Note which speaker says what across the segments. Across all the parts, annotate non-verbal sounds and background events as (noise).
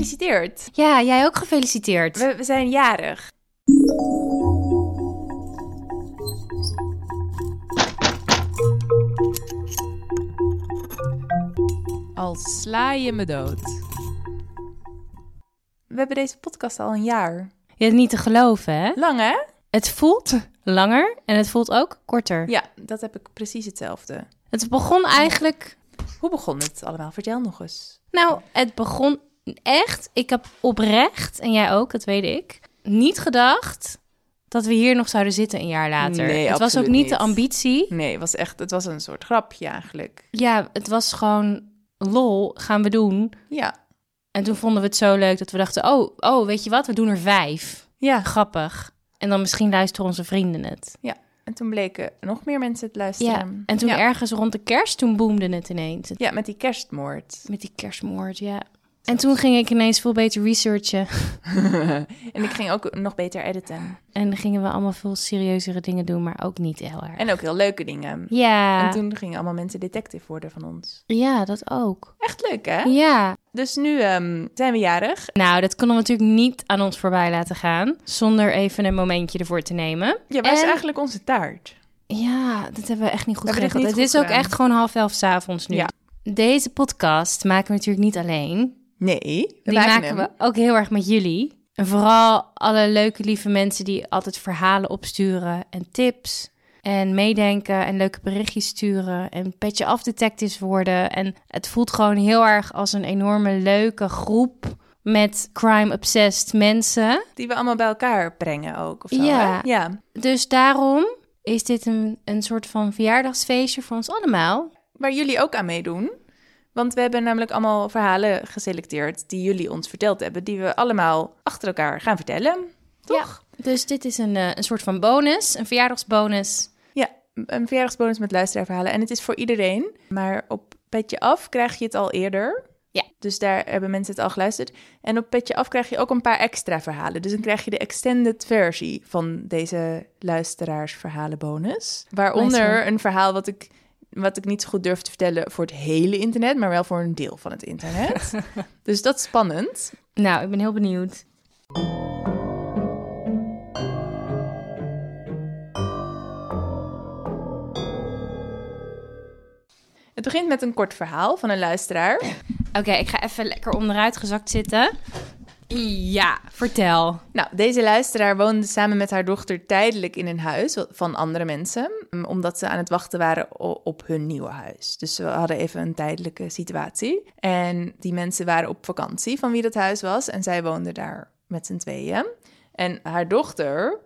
Speaker 1: gefeliciteerd.
Speaker 2: Ja, jij ook gefeliciteerd.
Speaker 1: We, we zijn jarig.
Speaker 3: Al sla je me dood.
Speaker 1: We hebben deze podcast al een jaar.
Speaker 2: Ja, niet te geloven, hè?
Speaker 1: Lang hè?
Speaker 2: Het voelt langer en het voelt ook korter.
Speaker 1: Ja, dat heb ik precies hetzelfde.
Speaker 2: Het begon eigenlijk...
Speaker 1: Hoe begon het allemaal? Vertel nog eens.
Speaker 2: Nou, het begon echt... Ik heb oprecht, en jij ook, dat weet ik... niet gedacht dat we hier nog zouden zitten een jaar later.
Speaker 1: Nee,
Speaker 2: het was ook
Speaker 1: absoluut
Speaker 2: niet, de
Speaker 1: niet.
Speaker 2: ambitie.
Speaker 1: Nee, het was echt, het was een soort grapje eigenlijk.
Speaker 2: Ja, het was gewoon lol, gaan we doen.
Speaker 1: Ja,
Speaker 2: En toen vonden we het zo leuk dat we dachten... oh, oh weet je wat, we doen er vijf.
Speaker 1: ja.
Speaker 2: Grappig. En dan misschien luisteren onze vrienden het.
Speaker 1: En toen bleken nog meer mensen het
Speaker 2: Ja,
Speaker 1: luisteren.
Speaker 2: en toen
Speaker 1: ja.
Speaker 2: ergens rond de kerst, toen boomde het ineens.
Speaker 1: ja, met die kerstmoord.
Speaker 2: Met die kerstmoord, ja. En toen ging ik ineens veel beter researchen.
Speaker 1: en ik ging ook nog beter editen.
Speaker 2: En dan gingen we allemaal veel serieuzere dingen doen, maar ook niet heel erg.
Speaker 1: En ook heel leuke dingen.
Speaker 2: Ja,
Speaker 1: En toen gingen allemaal mensen detective worden van ons.
Speaker 2: ja, dat ook.
Speaker 1: Echt leuk, hè?
Speaker 2: Ja.
Speaker 1: Dus nu ehm, zijn we jarig.
Speaker 2: Nou, dat konden we natuurlijk niet aan ons voorbij laten gaan. Zonder even een momentje ervoor te nemen.
Speaker 1: Ja, waar is
Speaker 2: En-
Speaker 1: eigenlijk onze taart?
Speaker 2: Ja, dat hebben we echt niet goed
Speaker 1: We hebben dit
Speaker 2: geregeld.
Speaker 1: niet
Speaker 2: Het
Speaker 1: goed
Speaker 2: is ook
Speaker 1: gedaan.
Speaker 2: echt gewoon half elf s'avonds nu.
Speaker 1: Ja.
Speaker 2: Deze podcast maken we natuurlijk niet alleen.
Speaker 1: Nee,
Speaker 2: Die maken we ook heel erg met jullie. En vooral alle leuke, lieve mensen die altijd verhalen opsturen en tips. En meedenken en leuke berichtjes sturen en petje af detectives worden. En het voelt gewoon heel erg als een enorme leuke groep met crime-obsessed mensen.
Speaker 1: Die we allemaal bij elkaar brengen ook. Of zo,
Speaker 2: Ja.
Speaker 1: hè? ja.
Speaker 2: Dus daarom is dit een, een soort van verjaardagsfeestje voor ons allemaal.
Speaker 1: Waar jullie ook aan meedoen. Want we hebben namelijk allemaal verhalen geselecteerd die jullie ons verteld hebben. Die we allemaal achter elkaar gaan vertellen. Toch?
Speaker 2: Ja, dus dit is een, eh, een soort van bonus, een verjaardagsbonus.
Speaker 1: Ja, een verjaardagsbonus met luisteraarverhalen. En het is voor iedereen. Maar op Petje Af krijg je het al eerder.
Speaker 2: Ja.
Speaker 1: Dus daar hebben mensen het al geluisterd. En op Petje Af krijg je ook een paar extra verhalen. Dus dan krijg je de extended versie van deze luisteraarsverhalenbonus. Waaronder
Speaker 2: Luisteraar.
Speaker 1: een verhaal wat ik, wat ik niet zo goed durf te vertellen voor het hele internet. Maar wel voor een deel van het internet. dus dat is spannend.
Speaker 2: Nou, ik ben heel benieuwd.
Speaker 1: Het begint met een kort verhaal van een luisteraar.
Speaker 2: Oké, ik ga even lekker onderuit gezakt zitten. Ja, vertel.
Speaker 1: Nou, deze luisteraar woonde samen met haar dochter tijdelijk in een huis van andere mensen, mm, omdat ze aan het wachten waren o- op hun nieuwe huis. Dus we hadden even een tijdelijke situatie. En die mensen waren op vakantie van wie dat huis was en zij woonde daar met z'n tweeën. En haar dochter,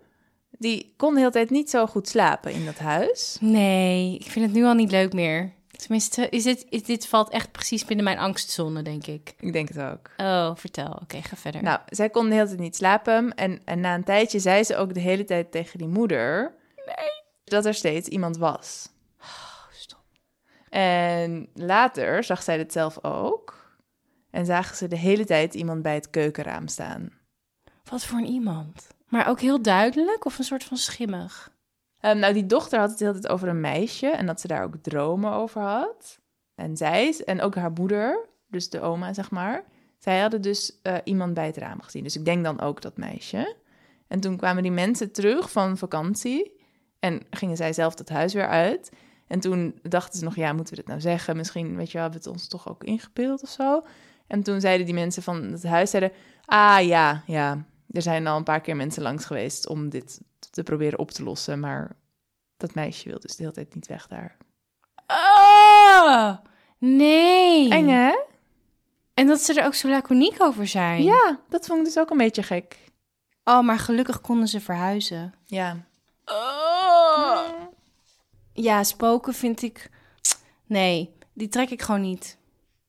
Speaker 1: die kon de hele tijd niet zo goed slapen in dat huis.
Speaker 2: Nee, ik vind het nu al niet leuk meer. Tenminste, is dit, is, dit valt echt precies binnen mijn angstzone, denk ik.
Speaker 1: Ik denk het ook.
Speaker 2: Oh, vertel. Oké, ga verder.
Speaker 1: Nou, zij kon de hele tijd niet slapen. En, en na een tijdje zei ze ook de hele tijd tegen die moeder... dat er steeds iemand was. En later zag zij dit zelf ook. En zagen ze de hele tijd iemand bij het keukenraam staan.
Speaker 2: Wat voor een iemand. Maar ook heel duidelijk of een soort van schimmig.
Speaker 1: Ehm, nou, die dochter had het de hele tijd over een meisje en dat ze daar ook dromen over had. En zij, en ook haar moeder, dus de oma, zeg maar. Zij hadden dus eh, iemand bij het raam gezien. Dus ik denk dan ook dat meisje. En toen kwamen die mensen terug van vakantie en gingen zij zelf dat huis weer uit. En toen dachten ze nog, ja, moeten we dit nou zeggen? Misschien, weet je wel, hebben we het ons toch ook ingebeeld of zo? En toen zeiden die mensen van het huis, zeiden, ah ja, ja, er zijn al een paar keer mensen langs geweest om dit te proberen op te lossen. Maar dat meisje wil dus de hele tijd niet weg daar.
Speaker 2: Oh, nee.
Speaker 1: Eng hè?
Speaker 2: En dat ze er ook zo laconiek over zijn.
Speaker 1: Ja, dat vond ik dus ook een beetje gek.
Speaker 2: Oh, maar gelukkig konden ze verhuizen.
Speaker 1: Ja.
Speaker 2: Oh! Ja, spoken vind ik... Nee, die trek ik gewoon niet.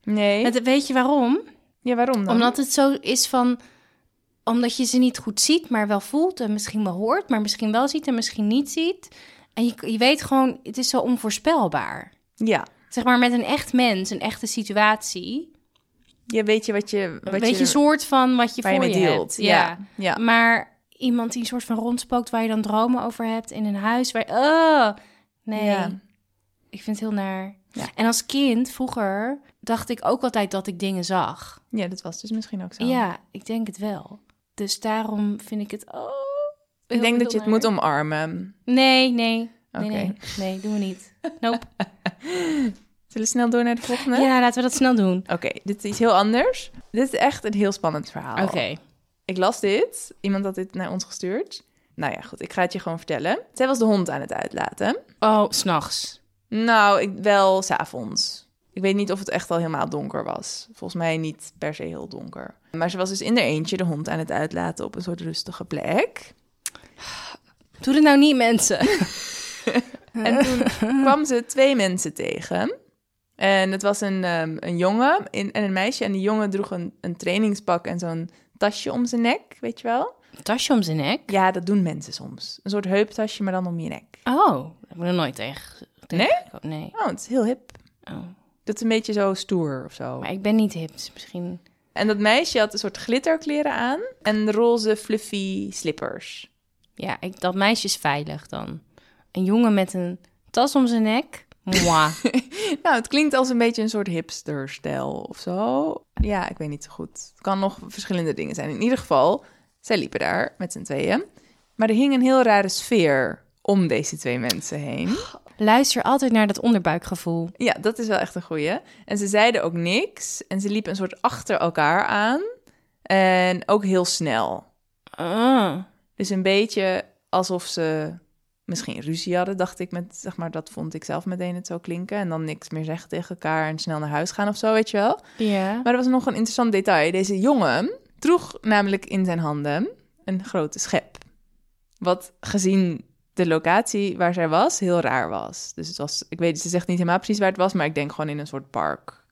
Speaker 1: Nee.
Speaker 2: Het- weet je waarom?
Speaker 1: Ja, waarom dan?
Speaker 2: Omdat het zo is van omdat je ze niet goed ziet, maar wel voelt en misschien wel hoort, maar misschien wel ziet en misschien niet ziet. En je, je weet gewoon, het is zo onvoorspelbaar.
Speaker 1: Ja.
Speaker 2: Zeg maar met een echt mens, een echte situatie.
Speaker 1: Je weet je wat je... Wat
Speaker 2: Een beetje
Speaker 1: je,
Speaker 2: soort van wat je
Speaker 1: waar je
Speaker 2: voor
Speaker 1: mee
Speaker 2: je,
Speaker 1: deelt.
Speaker 2: hebt. Ja.
Speaker 1: ja.
Speaker 2: Maar iemand die een soort van rondspookt waar je dan dromen over hebt in een huis waar. Oh, nee.
Speaker 1: Ja.
Speaker 2: Ik vind het heel naar.
Speaker 1: Ja.
Speaker 2: En als kind, vroeger, dacht ik ook altijd dat ik dingen zag.
Speaker 1: Ja, dat was dus misschien ook zo.
Speaker 2: Ja, ik denk het wel. Dus daarom vind ik het. Oh,
Speaker 1: ik denk dat je het
Speaker 2: eh,
Speaker 1: moet omarmen.
Speaker 2: Nee, nee.
Speaker 1: Oké.
Speaker 2: Nee, nee, nee, doen we (laughs) niet. Nope.
Speaker 1: Zullen we snel door naar de volgende?
Speaker 2: Ja, laten we dat snel doen.
Speaker 1: Oké, dit is iets heel anders. Dit is echt een heel spannend
Speaker 2: Oh.
Speaker 1: verhaal. Ik las dit. Iemand had dit naar ons gestuurd. Nou ja, goed. Ik ga het je gewoon vertellen. Zij was de hond aan het uitlaten.
Speaker 2: Oh, s'nachts.
Speaker 1: Nou, ik, wel s'avonds. Ik weet niet of het echt al helemaal donker was. Volgens mij niet per se heel donker. Maar ze was dus in haar eentje de hond aan het uitlaten op een soort rustige plek.
Speaker 2: Doe het nou niet, mensen.
Speaker 1: En toen kwam ze twee mensen tegen. En het was een, ehm, een jongen in- en een meisje. En die jongen droeg een, een trainingspak en zo'n tasje om zijn nek, weet je wel?
Speaker 2: (laughs) Tasje om zijn nek.
Speaker 1: Ja, dat doen mensen soms. Een soort heuptasje, maar dan om je nek.
Speaker 2: Oh, dat heb ik nog nooit tegen. tegen- Nee.
Speaker 1: Oh, het is heel hip.
Speaker 2: Oh.
Speaker 1: Dat is een beetje zo stoer of zo.
Speaker 2: Maar ik ben niet hip, dus misschien.
Speaker 1: En dat meisje had een soort glitterkleren aan en roze fluffy slippers.
Speaker 2: Ja, ik, dat meisje is veilig dan. Een jongen met een tas om zijn nek. Mwah. (laughs)
Speaker 1: Nou, het klinkt als een beetje een soort hipsterstijl of zo. Ja, ik weet niet zo goed. Het kan nog verschillende dingen zijn. In ieder geval, zij liepen daar met z'n tweeën. Maar er hing een heel rare sfeer om deze twee mensen heen.
Speaker 2: Luister altijd naar dat onderbuikgevoel.
Speaker 1: Ja, dat is wel echt een goeie. En ze zeiden ook niks. En ze liepen een soort achter elkaar aan. En ook heel snel.
Speaker 2: Ah.
Speaker 1: Dus een beetje alsof ze misschien ruzie hadden, dacht ik. Met, zeg maar, dat vond ik zelf meteen het zo klinken. En dan niks meer zeggen tegen elkaar en snel naar huis gaan of zo, weet je wel.
Speaker 2: Ja.
Speaker 1: Maar er was nog een interessant detail. Deze jongen droeg namelijk in zijn handen een grote schep. Wat gezien de locatie waar zij was, heel raar was. Dus het was, ik weet, ze zegt niet helemaal precies waar het was, maar ik denk gewoon in een soort park.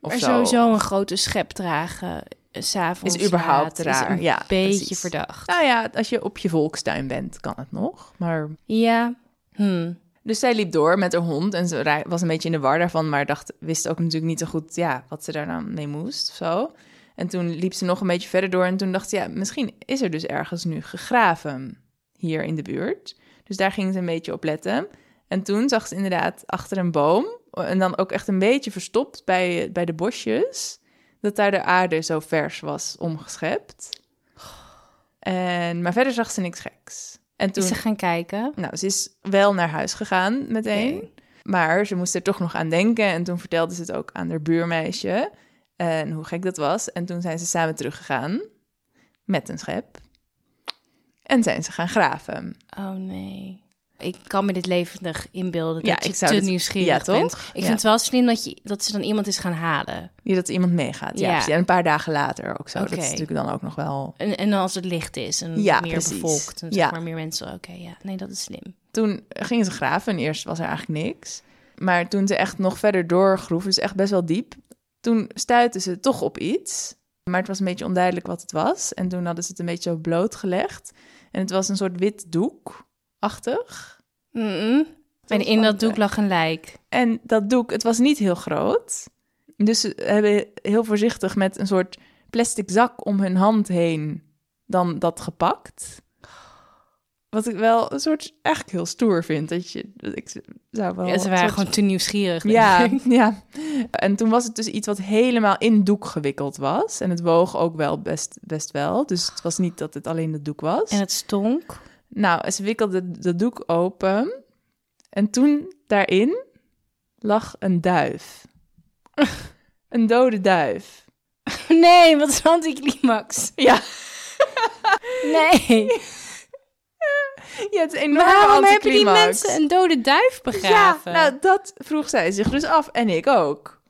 Speaker 1: Of
Speaker 2: maar
Speaker 1: zo.
Speaker 2: sowieso een grote schep dragen eh, s'avonds
Speaker 1: Is überhaupt
Speaker 2: laat,
Speaker 1: raar,
Speaker 2: Is een
Speaker 1: ja,
Speaker 2: beetje
Speaker 1: precies.
Speaker 2: verdacht.
Speaker 1: Nou ja, als je op je volkstuin bent, kan het nog. Maar
Speaker 2: Ja. Hm.
Speaker 1: Dus zij liep door met haar hond en ze ra- was een beetje in de war daarvan, maar dacht, wist ook natuurlijk niet zo goed ja, wat ze daar nou mee moest of zo. En toen liep ze nog een beetje verder door en toen dacht ze, ja, misschien is er dus ergens nu gegraven hier in de buurt. Dus daar ging ze een beetje op letten. En toen zag ze inderdaad achter een boom en dan ook echt een beetje verstopt bij, bij de bosjes, dat daar de aarde zo vers was omgeschept. En, maar verder zag ze niks geks. En toen...
Speaker 2: Is ze gaan kijken?
Speaker 1: Nou, ze is wel naar huis gegaan meteen.
Speaker 2: Oké.
Speaker 1: Maar ze moest er toch nog aan denken. En toen vertelde ze het ook aan haar buurmeisje. En hoe gek dat was. En toen zijn ze samen teruggegaan. Met een schep. En zijn ze gaan graven.
Speaker 2: Oh nee. Ik kan me dit levendig inbeelden.
Speaker 1: Ja,
Speaker 2: dat je
Speaker 1: ik zou
Speaker 2: te
Speaker 1: dit-
Speaker 2: nieuwsgierig
Speaker 1: ja, toch?
Speaker 2: bent. Ik
Speaker 1: Ja.
Speaker 2: vind het wel slim dat, je, dat ze dan iemand is gaan halen.
Speaker 1: Ja, dat iemand meegaat. Ja,
Speaker 2: Ja.
Speaker 1: precies. En een paar dagen later ook zo. Dat
Speaker 2: Oké.
Speaker 1: is natuurlijk dan ook nog wel...
Speaker 2: En, en als het licht is en
Speaker 1: Ja,
Speaker 2: meer
Speaker 1: precies.
Speaker 2: bevolkt. En zeg
Speaker 1: Ja.
Speaker 2: maar meer mensen. Oké, ja. Nee, dat is slim.
Speaker 1: Toen gingen ze graven. En eerst was er eigenlijk niks. Maar toen ze echt nog verder doorgroef, dus echt best wel diep... Toen stuitten ze toch op iets. Maar het was een beetje onduidelijk wat het was. En toen hadden ze het een beetje zo blootgelegd. En het was een soort wit doek-achtig.
Speaker 2: Mm-mm. En in
Speaker 1: spannend,
Speaker 2: dat doek
Speaker 1: hè?
Speaker 2: lag een lijk.
Speaker 1: En dat doek, het was niet heel groot. Dus ze hebben heel voorzichtig met een soort plastic zak om hun hand heen dan dat gepakt. Wat ik wel een soort eigenlijk heel stoer vind. Dat je, dat ik zou wel
Speaker 2: Ja, ze
Speaker 1: een
Speaker 2: waren
Speaker 1: soort-
Speaker 2: gewoon te nieuwsgierig. denk
Speaker 1: Oh, (laughs) ja,
Speaker 2: ik.
Speaker 1: ja. En toen was het dus iets wat helemaal in doek gewikkeld was. En het woog ook wel best, best wel. Dus het was niet dat het alleen dat doek was.
Speaker 2: En het
Speaker 1: (laughs)
Speaker 2: stonk.
Speaker 1: Nou, ze wikkelde dat doek open. En toen daarin lag een (laughs) duif. een dode duif.
Speaker 2: Nee, (laughs) wat een anticlimax.
Speaker 1: Ja, (laughs)
Speaker 2: Nee.
Speaker 1: ja het is een enorme
Speaker 2: Waarom hebben die
Speaker 1: anticlimax.
Speaker 2: mensen een dode duif begraven?
Speaker 1: Ja, nou, dat vroeg zij zich dus af. En ik ook.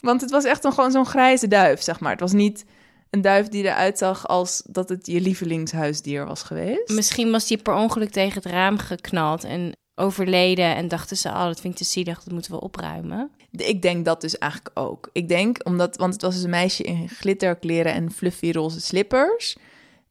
Speaker 1: Want het was echt een, gewoon zo'n grijze duif, zeg maar. Het was niet een duif die eruit zag als dat het je lievelingshuisdier was geweest.
Speaker 2: Misschien was die per ongeluk tegen het raam geknald en overleden. En dachten ze, oh, dat vind ik te zielig, dat moeten we opruimen.
Speaker 1: Ik denk dat dus eigenlijk ook. Ik denk omdat, want het was dus een meisje in glitterkleren en fluffy roze slippers.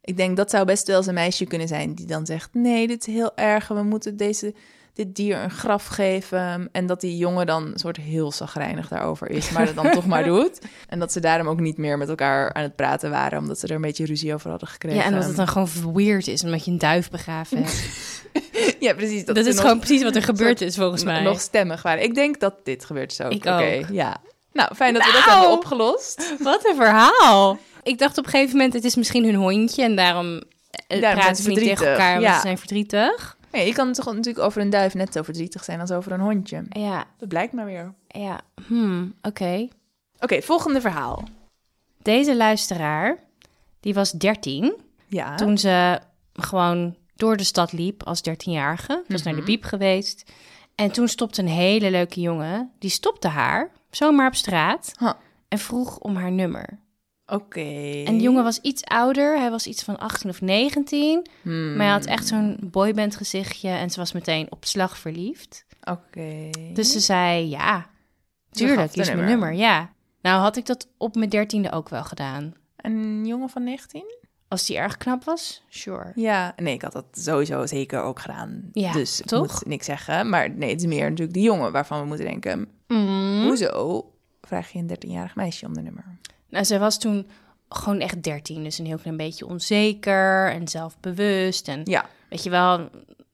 Speaker 1: Ik denk dat zou best wel eens een meisje kunnen zijn die dan zegt: Nee, dit is heel erg. en We moeten deze, dit dier een graf geven. En dat die jongen dan een soort heel zagrijnig daarover is, maar dat dan toch
Speaker 2: (laughs)
Speaker 1: maar doet. En dat ze daarom ook niet meer met elkaar aan het praten waren, omdat (laughs) ze er een beetje ruzie over hadden gekregen. (laughs)
Speaker 2: Ja, en dat het dan gewoon weird is, omdat je een duif begraven hebt.
Speaker 1: Ja, precies.
Speaker 2: Dat,
Speaker 1: ze
Speaker 2: is
Speaker 1: nog-
Speaker 2: gewoon precies (laughs)
Speaker 1: (laughs)
Speaker 2: wat er gebeurd is volgens mij.
Speaker 1: Nog stemmig waren. Ik denk dat dit gebeurt zo.
Speaker 2: Ik ook.
Speaker 1: Ja. Nou, fijn dat we dat
Speaker 2: Nou.
Speaker 1: hebben opgelost.
Speaker 2: Wat een verhaal. Ik dacht op een gegeven moment, het is misschien hun hondje en daarom eh,
Speaker 1: Daarom zijn
Speaker 2: praten
Speaker 1: ze
Speaker 2: ze niet tegen
Speaker 1: verdrietig,
Speaker 2: elkaar, want
Speaker 1: ja.
Speaker 2: ze zijn verdrietig.
Speaker 1: Nee, je kan toch natuurlijk over een duif net zo verdrietig zijn als over een hondje.
Speaker 2: Ja,
Speaker 1: Dat blijkt maar weer. Oké,
Speaker 2: ja, hmm, oké.
Speaker 1: volgende verhaal.
Speaker 2: Deze luisteraar, die was 13
Speaker 1: Ja.
Speaker 2: toen ze gewoon door de stad liep als 13-jarige. Was naar
Speaker 1: Mhm.
Speaker 2: de biep geweest. En toen stopte een hele leuke jongen, die stopte haar zomaar op straat
Speaker 1: Huh.
Speaker 2: en vroeg om haar nummer.
Speaker 1: Oké.
Speaker 2: En de jongen was iets ouder, hij was iets van 18 of 19.
Speaker 1: Hmm.
Speaker 2: Maar hij had echt zo'n boyband gezichtje en ze was meteen op slag verliefd.
Speaker 1: Oké.
Speaker 2: Dus ze zei, ja,
Speaker 1: gaf
Speaker 2: tuurlijk,
Speaker 1: de
Speaker 2: kies mijn
Speaker 1: nummer.
Speaker 2: nummer, ja. Nou had ik dat op mijn dertiende ook wel gedaan.
Speaker 1: Een jongen van 19?
Speaker 2: Als die erg knap was, sure.
Speaker 1: Ja. Nee, ik had dat sowieso zeker ook gedaan.
Speaker 2: Ja,
Speaker 1: dus ik
Speaker 2: toch?
Speaker 1: moet niks zeggen. Maar nee, het is meer natuurlijk die jongen waarvan we moeten denken. Hm? Hoezo vraag je een 13-jarig meisje om de nummer?
Speaker 2: Nou, zij was toen gewoon echt dertien, dus een heel klein beetje onzeker en zelfbewust. En
Speaker 1: Ja.
Speaker 2: weet je wel,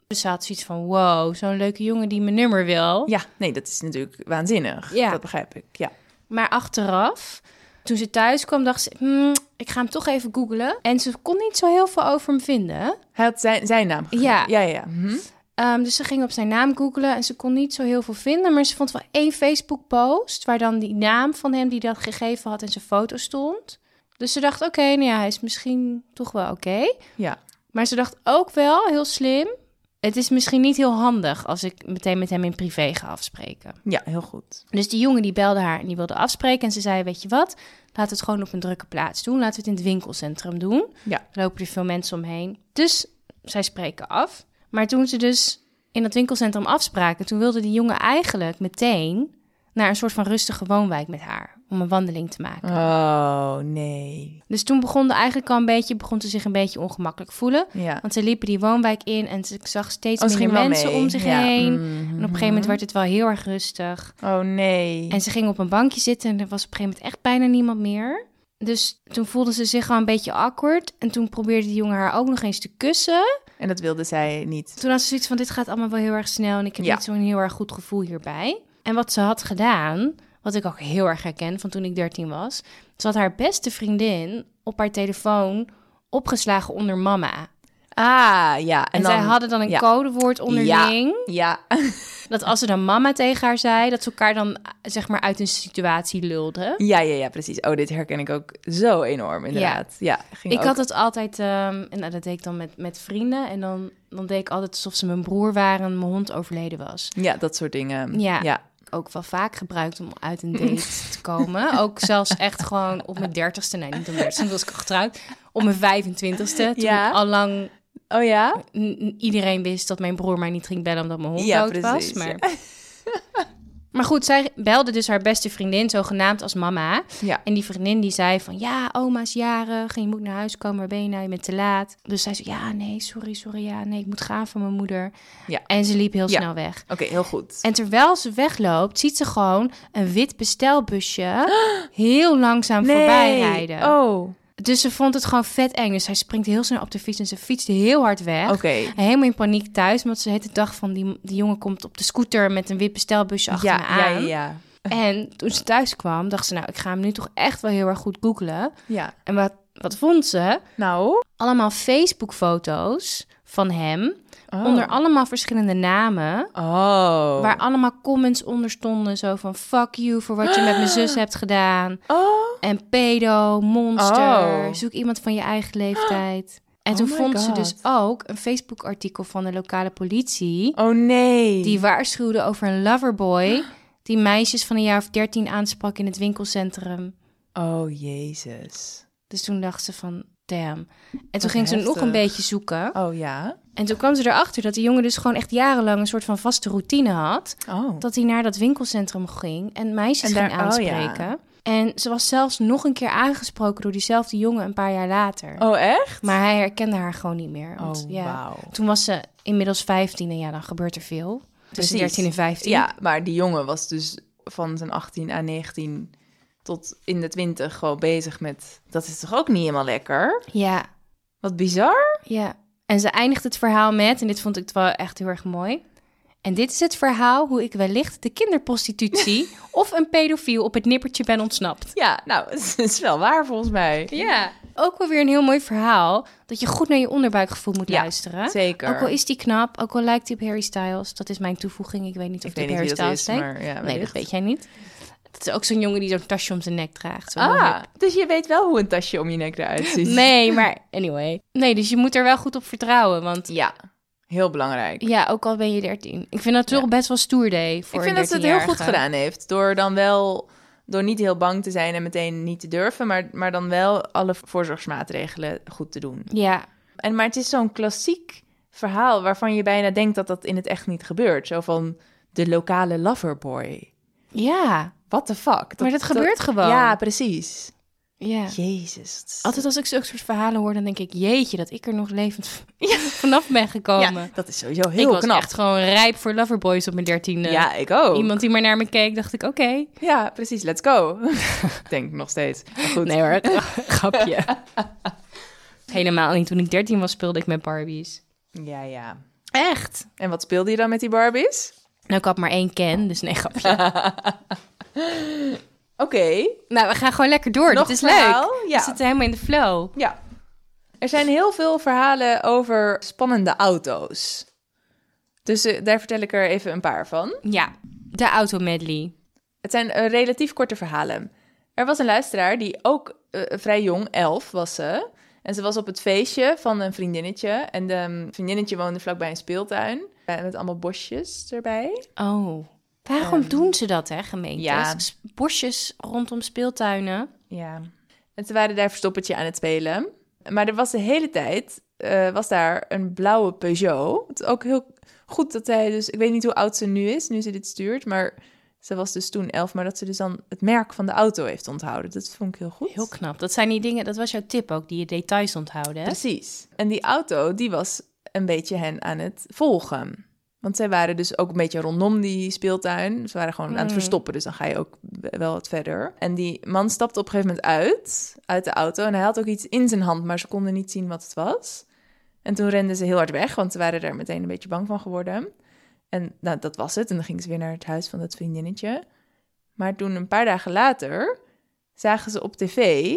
Speaker 2: dus ze had zoiets van, wow, zo'n leuke jongen die mijn nummer wil.
Speaker 1: Ja. Nee, dat is natuurlijk waanzinnig.
Speaker 2: Ja.
Speaker 1: Dat begrijp ik. Ja.
Speaker 2: Maar achteraf, toen ze thuis kwam, dacht ze, "Hmm, ik ga hem toch even googlen. En ze kon niet zo heel veel over hem vinden.
Speaker 1: Hij had zijn, zijn naam gegeven.
Speaker 2: Ja.
Speaker 1: Ja, ja. ja. Mhm.
Speaker 2: Ehm, dus ze ging op zijn naam googlen en ze kon niet zo heel veel vinden. Maar ze vond wel één Facebook-post waar dan die naam van hem die dat gegeven had en zijn foto stond. Dus ze dacht, oké, nou ja, hij is misschien toch wel oké.
Speaker 1: Ja.
Speaker 2: Maar ze dacht ook wel, heel slim, het is misschien niet heel handig als ik meteen met hem in privé ga afspreken.
Speaker 1: Ja, heel goed.
Speaker 2: Dus die jongen die belde haar en die wilde afspreken. En ze zei, weet je wat, laten we het gewoon op een drukke plaats doen. Laten we het in het winkelcentrum doen.
Speaker 1: Ja.
Speaker 2: Er lopen er veel mensen omheen. Dus zij spreken af. Maar toen ze dus in dat winkelcentrum afspraken... toen wilde die jongen eigenlijk meteen naar een soort van rustige woonwijk met haar... om een wandeling te maken.
Speaker 1: Oh, nee.
Speaker 2: Dus toen begon, de eigenlijk al een beetje, begon ze zich een beetje ongemakkelijk voelen...
Speaker 1: Ja.
Speaker 2: Want ze liepen die woonwijk in en ze- ik zag steeds
Speaker 1: Oh, ze
Speaker 2: minder
Speaker 1: ging wel
Speaker 2: mensen
Speaker 1: mee.
Speaker 2: om zich
Speaker 1: Ja.
Speaker 2: heen.
Speaker 1: Mhm.
Speaker 2: En op een gegeven moment werd het wel heel erg rustig.
Speaker 1: Oh, nee.
Speaker 2: En ze ging op een bankje zitten en er was op een gegeven moment echt bijna niemand meer. Dus toen voelde ze zich al een beetje awkward. En toen probeerde die jongen haar ook nog eens te kussen.
Speaker 1: En dat wilde zij niet.
Speaker 2: Toen had ze zoiets van, dit gaat allemaal wel heel erg snel en ik heb
Speaker 1: Ja.
Speaker 2: niet zo'n heel erg goed gevoel hierbij. En wat ze had gedaan, wat ik ook heel erg herken van toen ik 13 was. Ze had haar beste vriendin op haar telefoon opgeslagen onder mama.
Speaker 1: Ah, ja. En,
Speaker 2: En, zij hadden dan een
Speaker 1: ja.
Speaker 2: codewoord onderling.
Speaker 1: Ja.
Speaker 2: Dat als ze dan mama tegen haar zei, dat ze elkaar dan zeg maar uit een situatie lulden.
Speaker 1: Ja, ja, ja, precies. Oh, dit herken ik ook zo enorm, inderdaad. Ja, ging
Speaker 2: Ik
Speaker 1: ook-
Speaker 2: had dat altijd, ehm, en nou, dat deed ik dan met, met vrienden. En dan, dan deed ik altijd alsof ze mijn broer waren en mijn hond overleden was.
Speaker 1: Ja, dat soort dingen.
Speaker 2: Ja.
Speaker 1: ja.
Speaker 2: Ook wel vaak gebruikt om uit een
Speaker 1: (laughs)
Speaker 2: date te komen. Ook zelfs echt gewoon op mijn dertigste, nee niet op mijn dertigste, toen was ik al getrouwd. Op mijn 25ste, toen
Speaker 1: Ja.
Speaker 2: allang
Speaker 1: Oh ja?
Speaker 2: n- n- iedereen wist dat mijn broer mij niet ging bellen omdat mijn hond
Speaker 1: Ja,
Speaker 2: dood was.
Speaker 1: precies,
Speaker 2: Maar...
Speaker 1: (laughs)
Speaker 2: maar goed, zij belde dus haar beste vriendin, zogenaamd als mama.
Speaker 1: Ja.
Speaker 2: En die vriendin die zei van, ja, oma is jarig en je moet naar huis komen, waar ben je nou, je bent te laat. Dus zij zei, ja, nee, sorry, sorry, ja, nee, ik moet gaan voor mijn moeder.
Speaker 1: Ja.
Speaker 2: En ze liep heel
Speaker 1: Ja.
Speaker 2: snel weg.
Speaker 1: Oké, heel goed.
Speaker 2: En terwijl ze wegloopt, ziet ze gewoon een
Speaker 1: (gasps)
Speaker 2: wit bestelbusje heel langzaam voorbij rijden.
Speaker 1: Oh.
Speaker 2: Dus ze vond het gewoon vet eng. Dus zij springt heel snel op de fiets en ze fietst heel hard weg.
Speaker 1: Oké.
Speaker 2: Helemaal in paniek thuis, want ze heeft de dag van die, die jongen komt op de scooter met een wit bestelbusje achter
Speaker 1: Ja,
Speaker 2: me
Speaker 1: ja, ja,
Speaker 2: aan.
Speaker 1: ja.
Speaker 2: En toen ze thuis kwam, dacht ze, nou, ik ga hem nu toch echt wel heel erg goed googlen.
Speaker 1: Ja.
Speaker 2: En wat, wat vond ze?
Speaker 1: Nou.
Speaker 2: Allemaal Facebook-foto's van hem,
Speaker 1: Oh.
Speaker 2: onder allemaal verschillende namen.
Speaker 1: Oh.
Speaker 2: Waar allemaal comments onder stonden, zo van fuck you voor wat je met
Speaker 1: (gasps)
Speaker 2: mijn zus hebt gedaan.
Speaker 1: Oh.
Speaker 2: En pedo, monster,
Speaker 1: Oh.
Speaker 2: zoek iemand van je
Speaker 1: (gasps)
Speaker 2: eigen leeftijd. En
Speaker 1: Oh
Speaker 2: toen
Speaker 1: my
Speaker 2: vond ze
Speaker 1: God.
Speaker 2: dus ook een Facebook-artikel van de lokale politie.
Speaker 1: Oh nee.
Speaker 2: Die waarschuwde over een
Speaker 1: (gasps)
Speaker 2: loverboy die meisjes van een jaar of dertien aansprak in het winkelcentrum.
Speaker 1: Oh jezus.
Speaker 2: Dus toen dacht ze van, damn. En toen
Speaker 1: Wat
Speaker 2: ging ze nog een
Speaker 1: heftig.
Speaker 2: beetje zoeken.
Speaker 1: Oh ja.
Speaker 2: En toen kwam ze erachter dat die jongen dus gewoon echt jarenlang een soort van vaste routine had.
Speaker 1: Oh.
Speaker 2: Dat hij naar dat winkelcentrum ging en meisjes
Speaker 1: En daar-
Speaker 2: ging
Speaker 1: oh ja.
Speaker 2: aanspreken. En ze was zelfs nog een keer aangesproken door diezelfde jongen een paar jaar later.
Speaker 1: Oh echt?
Speaker 2: Maar hij herkende haar gewoon niet meer. Want,
Speaker 1: Oh,
Speaker 2: ja,
Speaker 1: wauw.
Speaker 2: Toen was ze inmiddels 15 en ja, dan gebeurt er veel. Tussen
Speaker 1: Precies.
Speaker 2: 13 en 15.
Speaker 1: Ja, maar die jongen was dus van zijn 18 à 19 tot in de 20 gewoon bezig met... Dat is toch ook niet helemaal lekker?
Speaker 2: ja,
Speaker 1: Wat bizar.
Speaker 2: ja. En ze eindigt het verhaal met, en dit vond ik wel echt heel erg mooi. En dit is het verhaal hoe ik wellicht de
Speaker 1: (laughs)
Speaker 2: kinderprostitutie of een pedofiel op het nippertje ben ontsnapt.
Speaker 1: Ja, nou, (laughs) het is wel waar volgens mij.
Speaker 2: Ja, ook wel weer een heel mooi verhaal. Dat je goed naar je onderbuikgevoel moet
Speaker 1: Ja,
Speaker 2: luisteren.
Speaker 1: Zeker.
Speaker 2: Ook al is die knap, ook al lijkt hij op Harry Styles. Dat is mijn toevoeging. Ik weet niet of
Speaker 1: ik
Speaker 2: die
Speaker 1: weet
Speaker 2: op
Speaker 1: niet wie
Speaker 2: Harry
Speaker 1: dat
Speaker 2: Styles
Speaker 1: is,
Speaker 2: lijkt.
Speaker 1: maar ja,
Speaker 2: Nee, dat
Speaker 1: wellicht.
Speaker 2: weet jij niet. Het is ook zo'n jongen die zo'n tasje om zijn nek draagt. Zo heel
Speaker 1: Ah,
Speaker 2: hip.
Speaker 1: dus je weet wel hoe een tasje om je nek
Speaker 2: (laughs)
Speaker 1: eruit ziet.
Speaker 2: Nee, maar anyway. Nee, dus je moet er wel goed op vertrouwen. Want
Speaker 1: Ja, heel belangrijk.
Speaker 2: ja, ook al ben je 13. Ik vind dat toch best wel stoer deed voor
Speaker 1: Ik
Speaker 2: een
Speaker 1: vind dat ze het heel goed
Speaker 2: 13-jarige.
Speaker 1: gedaan heeft. Door dan wel, door niet heel bang te zijn en meteen niet te durven, maar, maar dan wel alle voorzorgsmaatregelen goed te doen.
Speaker 2: Ja,
Speaker 1: En, maar het is zo'n klassiek verhaal waarvan je bijna denkt dat dat in het echt niet gebeurt. Zo van de lokale loverboy.
Speaker 2: ja.
Speaker 1: What the fuck?
Speaker 2: maar dat, gebeurt gewoon.
Speaker 1: Ja, precies.
Speaker 2: ja.
Speaker 1: Jezus. het is-
Speaker 2: Altijd als ik zulke soort verhalen hoor, dan denk ik... Jeetje, dat ik er nog levend (laughs) vanaf ben gekomen.
Speaker 1: ja, dat is sowieso
Speaker 2: ik
Speaker 1: heel
Speaker 2: was
Speaker 1: knap.
Speaker 2: echt gewoon rijp voor Loverboys op mijn dertiende.
Speaker 1: Ja, ik ook.
Speaker 2: Iemand die maar naar me keek, dacht ik, oké.
Speaker 1: Ja, precies. Let's go. (laughs) Denk ik nog steeds. Maar goed.
Speaker 2: Nee (laughs) hoor, grapje. Helemaal niet. Toen ik dertien was, speelde ik met Barbies.
Speaker 1: Ja, ja.
Speaker 2: Echt?
Speaker 1: En wat speelde je dan met die Barbies?
Speaker 2: Nou, ik had maar één ken, dus nee, grapje.
Speaker 1: Oké.
Speaker 2: (laughs) nou, we gaan gewoon lekker door.
Speaker 1: Nog
Speaker 2: Dit is
Speaker 1: een verhaal?
Speaker 2: leuk.
Speaker 1: Ja.
Speaker 2: We zitten helemaal in de flow.
Speaker 1: Ja. Er zijn heel veel verhalen over spannende auto's. Dus eh, daar vertel ik er even een paar van.
Speaker 2: Ja, de automedley.
Speaker 1: Het zijn eh, relatief korte verhalen. Er was een luisteraar die ook eh, vrij jong, elf was ze. En ze was op het feestje van een vriendinnetje. En de mm, vriendinnetje woonde vlakbij een speeltuin. eh, Met allemaal bosjes erbij.
Speaker 2: Oh. Waarom doen ze dat, hè, gemeentes?
Speaker 1: ja.
Speaker 2: S- Bosjes rondom speeltuinen.
Speaker 1: Ja. En ze waren daar verstoppertje aan het spelen. Maar er was de hele tijd, eh, was daar een blauwe Peugeot. Het is ook heel goed dat hij dus, ik weet niet hoe oud ze nu is, nu ze dit stuurt. Maar ze was dus toen elf, maar dat ze dus dan het merk van de auto heeft onthouden. Dat vond ik heel goed.
Speaker 2: Heel knap. Dat zijn die dingen, dat was jouw tip ook, die je details onthouden. Hè?
Speaker 1: Precies. En die auto, die was een beetje hen aan het volgen. Want zij waren dus ook een beetje rondom die speeltuin. Ze waren gewoon aan het verstoppen, dus dan ga je ook wel wat verder. En die man stapte op een gegeven moment uit, uit de auto. En hij had ook iets in zijn hand, maar ze konden niet zien wat het was. En toen renden ze heel hard weg, want ze waren er meteen een beetje bang van geworden. En nou, dat was het. En dan gingen ze weer naar het huis van dat vriendinnetje. Maar toen, een paar dagen later, zagen ze op tv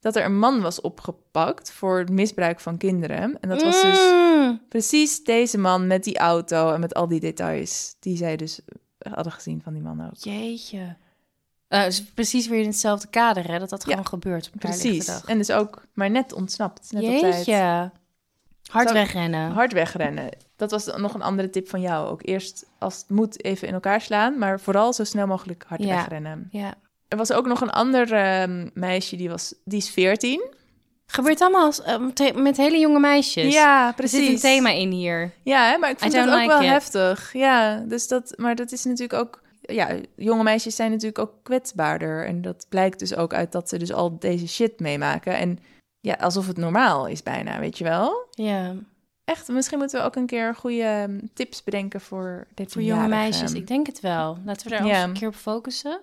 Speaker 1: dat er een man was opgepakt voor het misbruik van kinderen. En dat was dus
Speaker 2: Mm.
Speaker 1: precies deze man met die auto en met al die details die zij dus hadden gezien van die man ook.
Speaker 2: Jeetje. Eh, het is precies weer in hetzelfde kader, hè? Dat dat
Speaker 1: Ja,
Speaker 2: gewoon gebeurt op een paar lichte
Speaker 1: Precies.
Speaker 2: dag.
Speaker 1: En dus ook maar net ontsnapt. Net op tijd.
Speaker 2: Jeetje. Hard
Speaker 1: Zo-
Speaker 2: wegrennen.
Speaker 1: Hard wegrennen. Dat was nog een andere tip van jou ook. Eerst als het moet even in elkaar slaan, maar vooral zo snel mogelijk hard
Speaker 2: Ja.
Speaker 1: wegrennen.
Speaker 2: Ja.
Speaker 1: Er was ook nog een ander ehm, meisje, die, was, die is 14.
Speaker 2: Gebeurt allemaal als, eh, met- met hele jonge meisjes.
Speaker 1: Ja,
Speaker 2: Er zit een thema in hier.
Speaker 1: Ja, hè, maar ik vond
Speaker 2: I
Speaker 1: dat
Speaker 2: don't
Speaker 1: ook
Speaker 2: like
Speaker 1: wel
Speaker 2: it.
Speaker 1: heftig. Ja, dus dat, maar dat is natuurlijk ook... Ja, jonge meisjes zijn natuurlijk ook kwetsbaarder. En dat blijkt dus ook uit dat ze dus al deze shit meemaken. En ja, alsof het normaal is bijna, weet je wel?
Speaker 2: Ja,
Speaker 1: Echt, misschien moeten we ook een keer goede ehm, tips bedenken voor dit
Speaker 2: voor jonge meisjes. Ik denk het wel. Laten we daar
Speaker 1: Ja.
Speaker 2: eens een keer op focussen.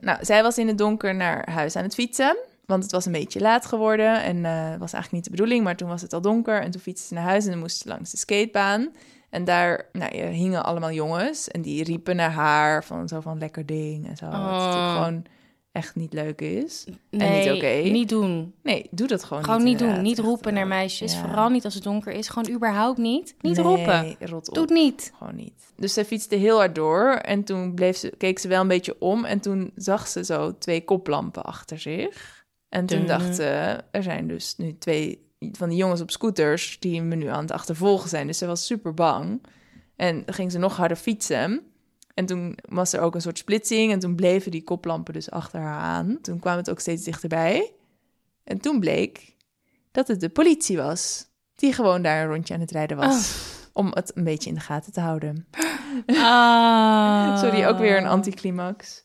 Speaker 1: Nou, zij was in het donker naar huis aan het fietsen. Want het was een beetje laat geworden en eh, was eigenlijk niet de bedoeling. Maar toen was het al donker en toen fietste ze naar huis en dan moest ze langs de skatebaan. En daar nou, ja, hingen allemaal jongens en die riepen naar haar van zo van lekker ding en zo. Wat natuurlijk
Speaker 2: Oh.
Speaker 1: gewoon echt niet leuk is.
Speaker 2: Nee,
Speaker 1: niet oké.
Speaker 2: niet doen.
Speaker 1: Nee, doe dat gewoon,
Speaker 2: Gewoon
Speaker 1: niet.
Speaker 2: niet doen.
Speaker 1: inderdaad.
Speaker 2: Niet
Speaker 1: Echt,
Speaker 2: roepen naar
Speaker 1: eh,
Speaker 2: meisjes.
Speaker 1: ja.
Speaker 2: Vooral niet als het donker is. Gewoon überhaupt niet. Niet
Speaker 1: nee,
Speaker 2: roepen.
Speaker 1: rot op.
Speaker 2: Doe het niet.
Speaker 1: Gewoon niet. Dus zij fietste heel hard door en toen bleef ze, keek ze wel een beetje om en toen zag ze zo twee koplampen achter zich. En toen
Speaker 2: Dunne.
Speaker 1: dacht ze, er zijn dus nu twee van die jongens op scooters die me nu aan het achtervolgen zijn. Dus ze was super bang. En dan ging ze nog harder fietsen. En toen was er ook een soort splitsing en toen bleven die koplampen dus achter haar aan. Toen kwam het ook steeds dichterbij. En toen bleek dat het de politie was die gewoon daar een rondje aan het rijden was om het een beetje in de gaten te houden.
Speaker 2: Ah.
Speaker 1: (laughs) Sorry, ook weer een anticlimax.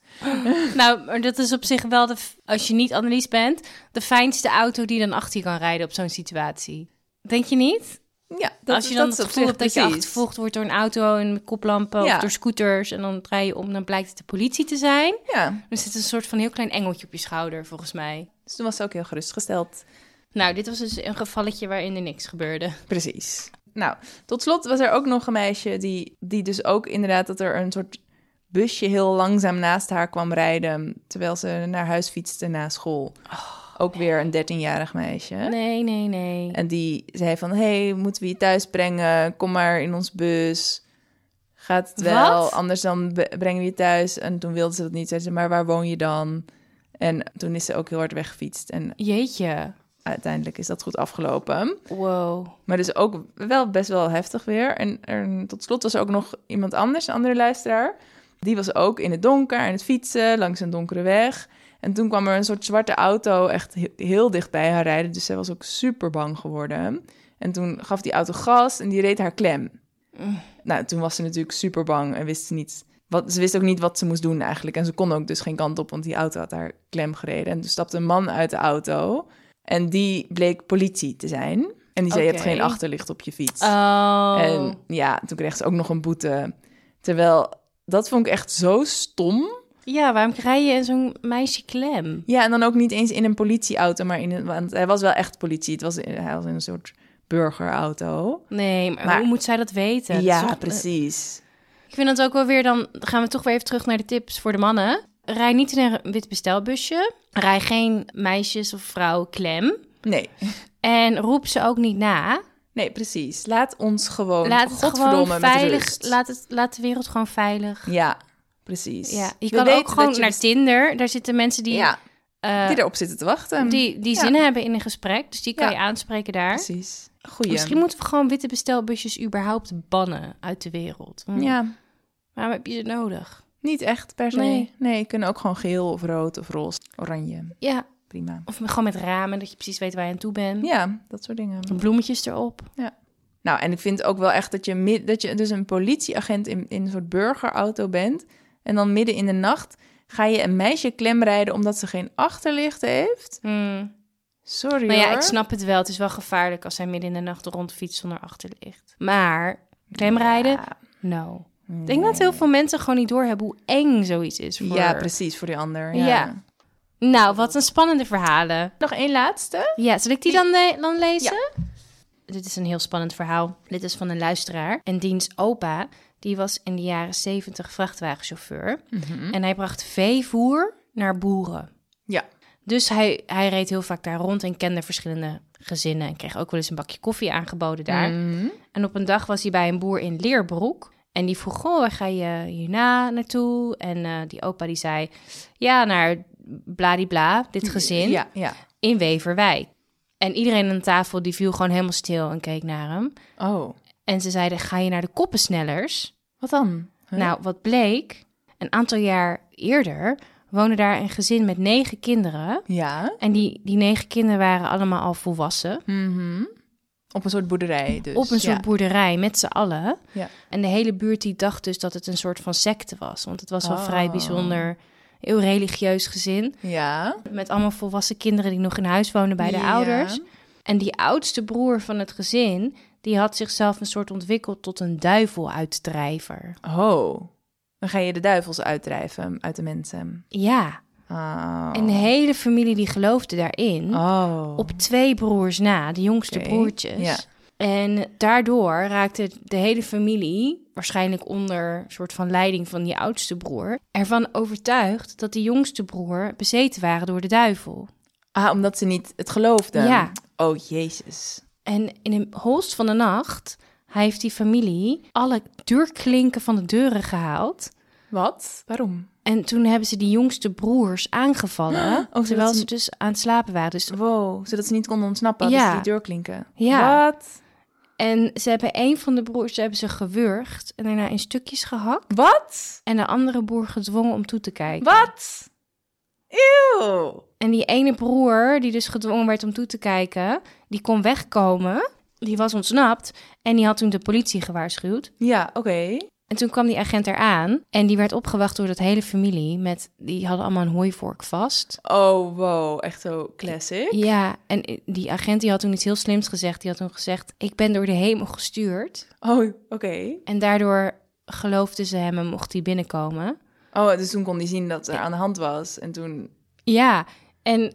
Speaker 2: Nou, maar dat is op zich wel, de, f- als je niet Annelies bent, de fijnste auto die dan achter je kan rijden op zo'n situatie. Denk je niet?
Speaker 1: Ja, dat,
Speaker 2: als je dan
Speaker 1: dat is
Speaker 2: het
Speaker 1: op
Speaker 2: gevoel
Speaker 1: zich
Speaker 2: hebt dat je
Speaker 1: precies.
Speaker 2: achtervolgd wordt door een auto en koplampen
Speaker 1: Ja.
Speaker 2: of door scooters en dan draai je om, dan blijkt het de politie te zijn.
Speaker 1: Ja,
Speaker 2: Er zit een soort van heel klein engeltje op je schouder, volgens mij.
Speaker 1: dus toen was ze ook heel gerustgesteld.
Speaker 2: Nou, dit was dus een gevalletje waarin er niks gebeurde.
Speaker 1: Precies. Nou, tot slot was er ook nog een meisje die, die dus ook inderdaad dat er een soort busje heel langzaam naast haar kwam rijden. Terwijl ze naar huis fietste na school.
Speaker 2: Oh,
Speaker 1: ook weer een 13-jarig meisje.
Speaker 2: Nee, nee, nee.
Speaker 1: En die zei van, hé, hey, moeten we je thuis brengen? Kom maar in ons bus. Gaat het wel,
Speaker 2: Wat?
Speaker 1: anders dan be- brengen we je thuis. En toen wilde ze dat niet. Zei ze, maar waar woon je dan? En toen is ze ook heel hard weggefietst. En
Speaker 2: Jeetje.
Speaker 1: uiteindelijk is dat goed afgelopen.
Speaker 2: Wow.
Speaker 1: Maar dus ook wel best wel heftig weer. En, en tot slot was er ook nog iemand anders, een andere luisteraar. Die was ook in het donker aan het fietsen langs een donkere weg. En toen kwam er een soort zwarte auto echt he- heel dicht bij haar rijden. Dus zij was ook super bang geworden. En toen gaf die auto gas en die reed haar klem. Nou, toen was ze natuurlijk super bang en wist ze niet. Wat, ze wist ook niet wat ze moest doen eigenlijk. En ze kon ook dus geen kant op, want die auto had haar klem gereden. En toen stapte een man uit de auto. En die bleek politie te zijn. En die zei: Je hebt
Speaker 2: Oké.
Speaker 1: geen achterlicht op je fiets.
Speaker 2: Oh.
Speaker 1: En ja, toen kreeg ze ook nog een boete. Terwijl dat vond ik echt zo stom.
Speaker 2: Ja, waarom krijg je zo'n meisje klem?
Speaker 1: Ja, en dan ook niet eens in een politieauto, maar in een. Want hij was wel echt politie. Het was, in- hij was in een soort burgerauto.
Speaker 2: Nee, maar,
Speaker 1: Maar-
Speaker 2: hoe moet zij dat weten? Dat is
Speaker 1: ja,
Speaker 2: toch-
Speaker 1: precies.
Speaker 2: Ik vind het ook wel weer, dan gaan we toch weer even terug naar de tips voor de mannen. Rij niet in een wit bestelbusje. Rij geen meisjes of vrouwen klem.
Speaker 1: Nee.
Speaker 2: En roep ze ook niet na.
Speaker 1: Nee, precies. Laat ons gewoon.
Speaker 2: Laat
Speaker 1: Oh,
Speaker 2: het
Speaker 1: godverdomme
Speaker 2: gewoon veilig.
Speaker 1: Met rust.
Speaker 2: Laat, het, laat de wereld gewoon veilig.
Speaker 1: Ja, precies.
Speaker 2: Ja, je
Speaker 1: We
Speaker 2: kan
Speaker 1: weten
Speaker 2: ook gewoon
Speaker 1: dat je
Speaker 2: naar
Speaker 1: best-
Speaker 2: Tinder. Daar zitten mensen die,
Speaker 1: Ja,
Speaker 2: eh,
Speaker 1: die erop zitten te wachten.
Speaker 2: die, die
Speaker 1: ja.
Speaker 2: zin hebben in een gesprek. Dus die kan
Speaker 1: Ja.
Speaker 2: je aanspreken daar.
Speaker 1: Precies. Goeie.
Speaker 2: Misschien moeten we gewoon witte bestelbusjes überhaupt bannen uit de wereld. Hm,
Speaker 1: Ja,
Speaker 2: Waarom heb je ze nodig?
Speaker 1: niet echt per se.
Speaker 2: Nee.
Speaker 1: Nee. kunnen ook gewoon geel of rood of roze, oranje.
Speaker 2: Ja,
Speaker 1: Prima.
Speaker 2: of gewoon met ramen, dat je precies weet waar je aan toe bent.
Speaker 1: Ja, dat soort dingen.
Speaker 2: Bloemetjes erop.
Speaker 1: Nou, en ik vind ook wel echt dat je, mid- dat je dus een politieagent in, in een soort burgerauto bent. En dan midden in de nacht ga je een meisje klemrijden omdat ze geen achterlicht heeft.
Speaker 2: Hm.
Speaker 1: Sorry
Speaker 2: Maar Nou ja,
Speaker 1: hoor.
Speaker 2: ik snap het wel. Het is wel gevaarlijk als zij midden in de nacht rondfietst zonder achterlicht. Maar klemrijden?
Speaker 1: Ja.
Speaker 2: No. Ik denk dat heel veel mensen gewoon niet doorhebben hoe eng zoiets is. Voor...
Speaker 1: Ja, precies, voor die ander. Ja.
Speaker 2: Ja. Nou, wat een spannende verhalen.
Speaker 1: Nog één laatste.
Speaker 2: Ja, zal ik die dan, eh, dan lezen? Dit is een heel spannend verhaal. Dit is van een luisteraar. En diens opa, die was in de jaren 70 vrachtwagenchauffeur.
Speaker 1: Mhm.
Speaker 2: En hij bracht veevoer naar boeren.
Speaker 1: Ja.
Speaker 2: Dus hij, hij reed heel vaak daar rond en kende verschillende gezinnen. En kreeg ook wel eens een bakje koffie aangeboden daar.
Speaker 1: Mhm.
Speaker 2: En op een dag was hij bij een boer in Leerbroek. En die vroeg, goh, waar ga je hierna naartoe? En eh, die opa die zei, ja, naar bladibla, dit gezin,
Speaker 1: Mhm, Ja, ja.
Speaker 2: in Weverwijk. En iedereen aan tafel die viel gewoon helemaal stil en keek naar hem.
Speaker 1: Oh,
Speaker 2: En ze zeiden, ga je naar de koppensnellers?
Speaker 1: wat dan? Huh?
Speaker 2: Nou, wat bleek, een aantal jaar eerder woonde daar een gezin met negen kinderen.
Speaker 1: Ja.
Speaker 2: En die, die negen kinderen waren allemaal al volwassen.
Speaker 1: Mhm. Op een soort boerderij dus.
Speaker 2: op een soort
Speaker 1: ja.
Speaker 2: boerderij met z'n allen.
Speaker 1: Ja.
Speaker 2: En de hele buurt die dacht dus dat het een soort van secte was. Want het was wel
Speaker 1: Oh.
Speaker 2: vrij bijzonder, heel religieus gezin.
Speaker 1: Ja.
Speaker 2: Met allemaal volwassen kinderen die nog in huis woonden bij de
Speaker 1: Ja.
Speaker 2: ouders. En die oudste broer van het gezin, die had zichzelf een soort ontwikkeld tot een duiveluitdrijver.
Speaker 1: Oh. Dan ga je de duivels uitdrijven uit de mensen.
Speaker 2: Ja,
Speaker 1: Oh.
Speaker 2: en de hele familie die geloofde daarin.
Speaker 1: Oh.
Speaker 2: Op twee broers na, de jongste
Speaker 1: Oké,
Speaker 2: broertjes.
Speaker 1: ja.
Speaker 2: En daardoor raakte de hele familie, waarschijnlijk onder een soort van leiding van die oudste broer, ervan overtuigd dat die jongste broer bezeten waren door de duivel.
Speaker 1: Ah, omdat ze niet het geloofden.
Speaker 2: Ja.
Speaker 1: Oh, jezus.
Speaker 2: En in een holst van de nacht hij heeft die familie alle deurklinken van de deuren gehaald.
Speaker 1: Wat? Waarom?
Speaker 2: En toen hebben ze die jongste broers
Speaker 1: (gasps)
Speaker 2: aangevallen,
Speaker 1: zodat
Speaker 2: terwijl
Speaker 1: ze-
Speaker 2: ze dus aan het slapen waren. Dus
Speaker 1: Wow, zodat ze niet konden ontsnappen.
Speaker 2: Ja.
Speaker 1: Dus die deur klinken.
Speaker 2: Ja.
Speaker 1: Wat?
Speaker 2: En ze hebben een van de broers hebben ze gewurgd en daarna in stukjes gehakt.
Speaker 1: Wat?
Speaker 2: En de andere broer gedwongen om toe te kijken.
Speaker 1: Wat? Eeuw.
Speaker 2: En die ene broer, die dus gedwongen werd om toe te kijken, die kon wegkomen. Die was ontsnapt en die had toen de politie gewaarschuwd.
Speaker 1: Ja, oké.
Speaker 2: En toen kwam die agent eraan en die werd opgewacht door dat hele familie. Met, die hadden allemaal een hooivork vast.
Speaker 1: Oh, wow. Echt zo classic.
Speaker 2: Ja, en die agent die had toen iets heel slims gezegd. Die had toen gezegd, ik ben door de hemel gestuurd.
Speaker 1: Oh, oké.
Speaker 2: En daardoor geloofden ze hem en mocht hij binnenkomen.
Speaker 1: Oh, dus toen kon hij zien dat er aan de hand was. En toen...
Speaker 2: Ja, en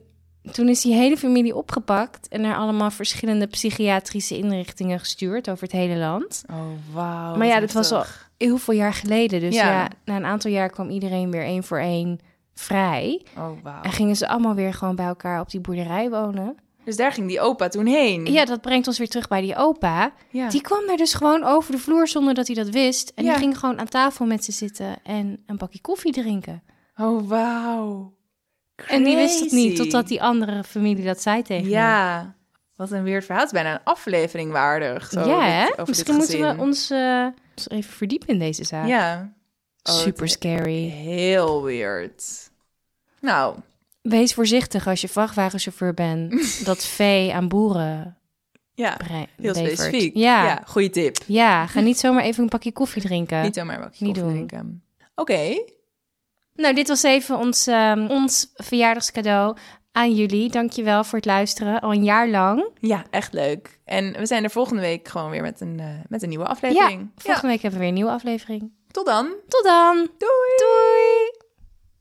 Speaker 2: Toen is die hele familie opgepakt en naar allemaal verschillende psychiatrische inrichtingen gestuurd over het hele land.
Speaker 1: Oh, wauw.
Speaker 2: maar ja,
Speaker 1: wat
Speaker 2: dat was al
Speaker 1: heftig.
Speaker 2: heel veel jaar geleden. Dus ja.
Speaker 1: Ja.
Speaker 2: na een aantal jaar kwam iedereen weer één voor één vrij.
Speaker 1: Oh, wauw.
Speaker 2: En gingen ze allemaal weer gewoon bij elkaar op die boerderij wonen.
Speaker 1: Dus daar ging die opa toen heen.
Speaker 2: Ja, dat brengt ons weer terug bij die opa.
Speaker 1: Mm. Ja.
Speaker 2: Die kwam daar dus gewoon over de vloer zonder dat hij dat wist. En
Speaker 1: Ja.
Speaker 2: die ging gewoon aan tafel met ze zitten en een bakje koffie drinken.
Speaker 1: Oh, wauw.
Speaker 2: En die wist het niet,
Speaker 1: Crazy.
Speaker 2: totdat die andere familie dat zei tegen hem.
Speaker 1: Ja, wat een weird verhaal. Het is bijna een aflevering waardig. Zo,
Speaker 2: ja,
Speaker 1: dit-
Speaker 2: hè?
Speaker 1: over dit
Speaker 2: Misschien moeten we
Speaker 1: gezin.
Speaker 2: ons, eh, ons even verdiepen in deze zaak.
Speaker 1: Ja. Oh, het-
Speaker 2: Super scary.
Speaker 1: Heel weird. Nou,
Speaker 2: Wees voorzichtig als je vrachtwagenchauffeur
Speaker 1: (laughs)
Speaker 2: bent dat vee aan boeren
Speaker 1: ja.
Speaker 2: brengt.
Speaker 1: Heel specifiek.
Speaker 2: Ja.
Speaker 1: ja.
Speaker 2: ja.
Speaker 1: Goeie tip.
Speaker 2: ga niet zomaar even een bakje koffie drinken.
Speaker 1: Niet zomaar bakje
Speaker 2: Niet
Speaker 1: koffie
Speaker 2: doen.
Speaker 1: drinken. Oké.
Speaker 2: Nou, dit was even ons, ehm, ons verjaardagscadeau aan jullie. Dankjewel voor het luisteren, al een jaar lang.
Speaker 1: Ja, echt leuk. En we zijn er volgende week gewoon weer met een, eh, met een nieuwe aflevering.
Speaker 2: Ja, volgende week hebben we weer een nieuwe aflevering.
Speaker 1: Tot dan.
Speaker 2: Tot dan!
Speaker 1: Doei.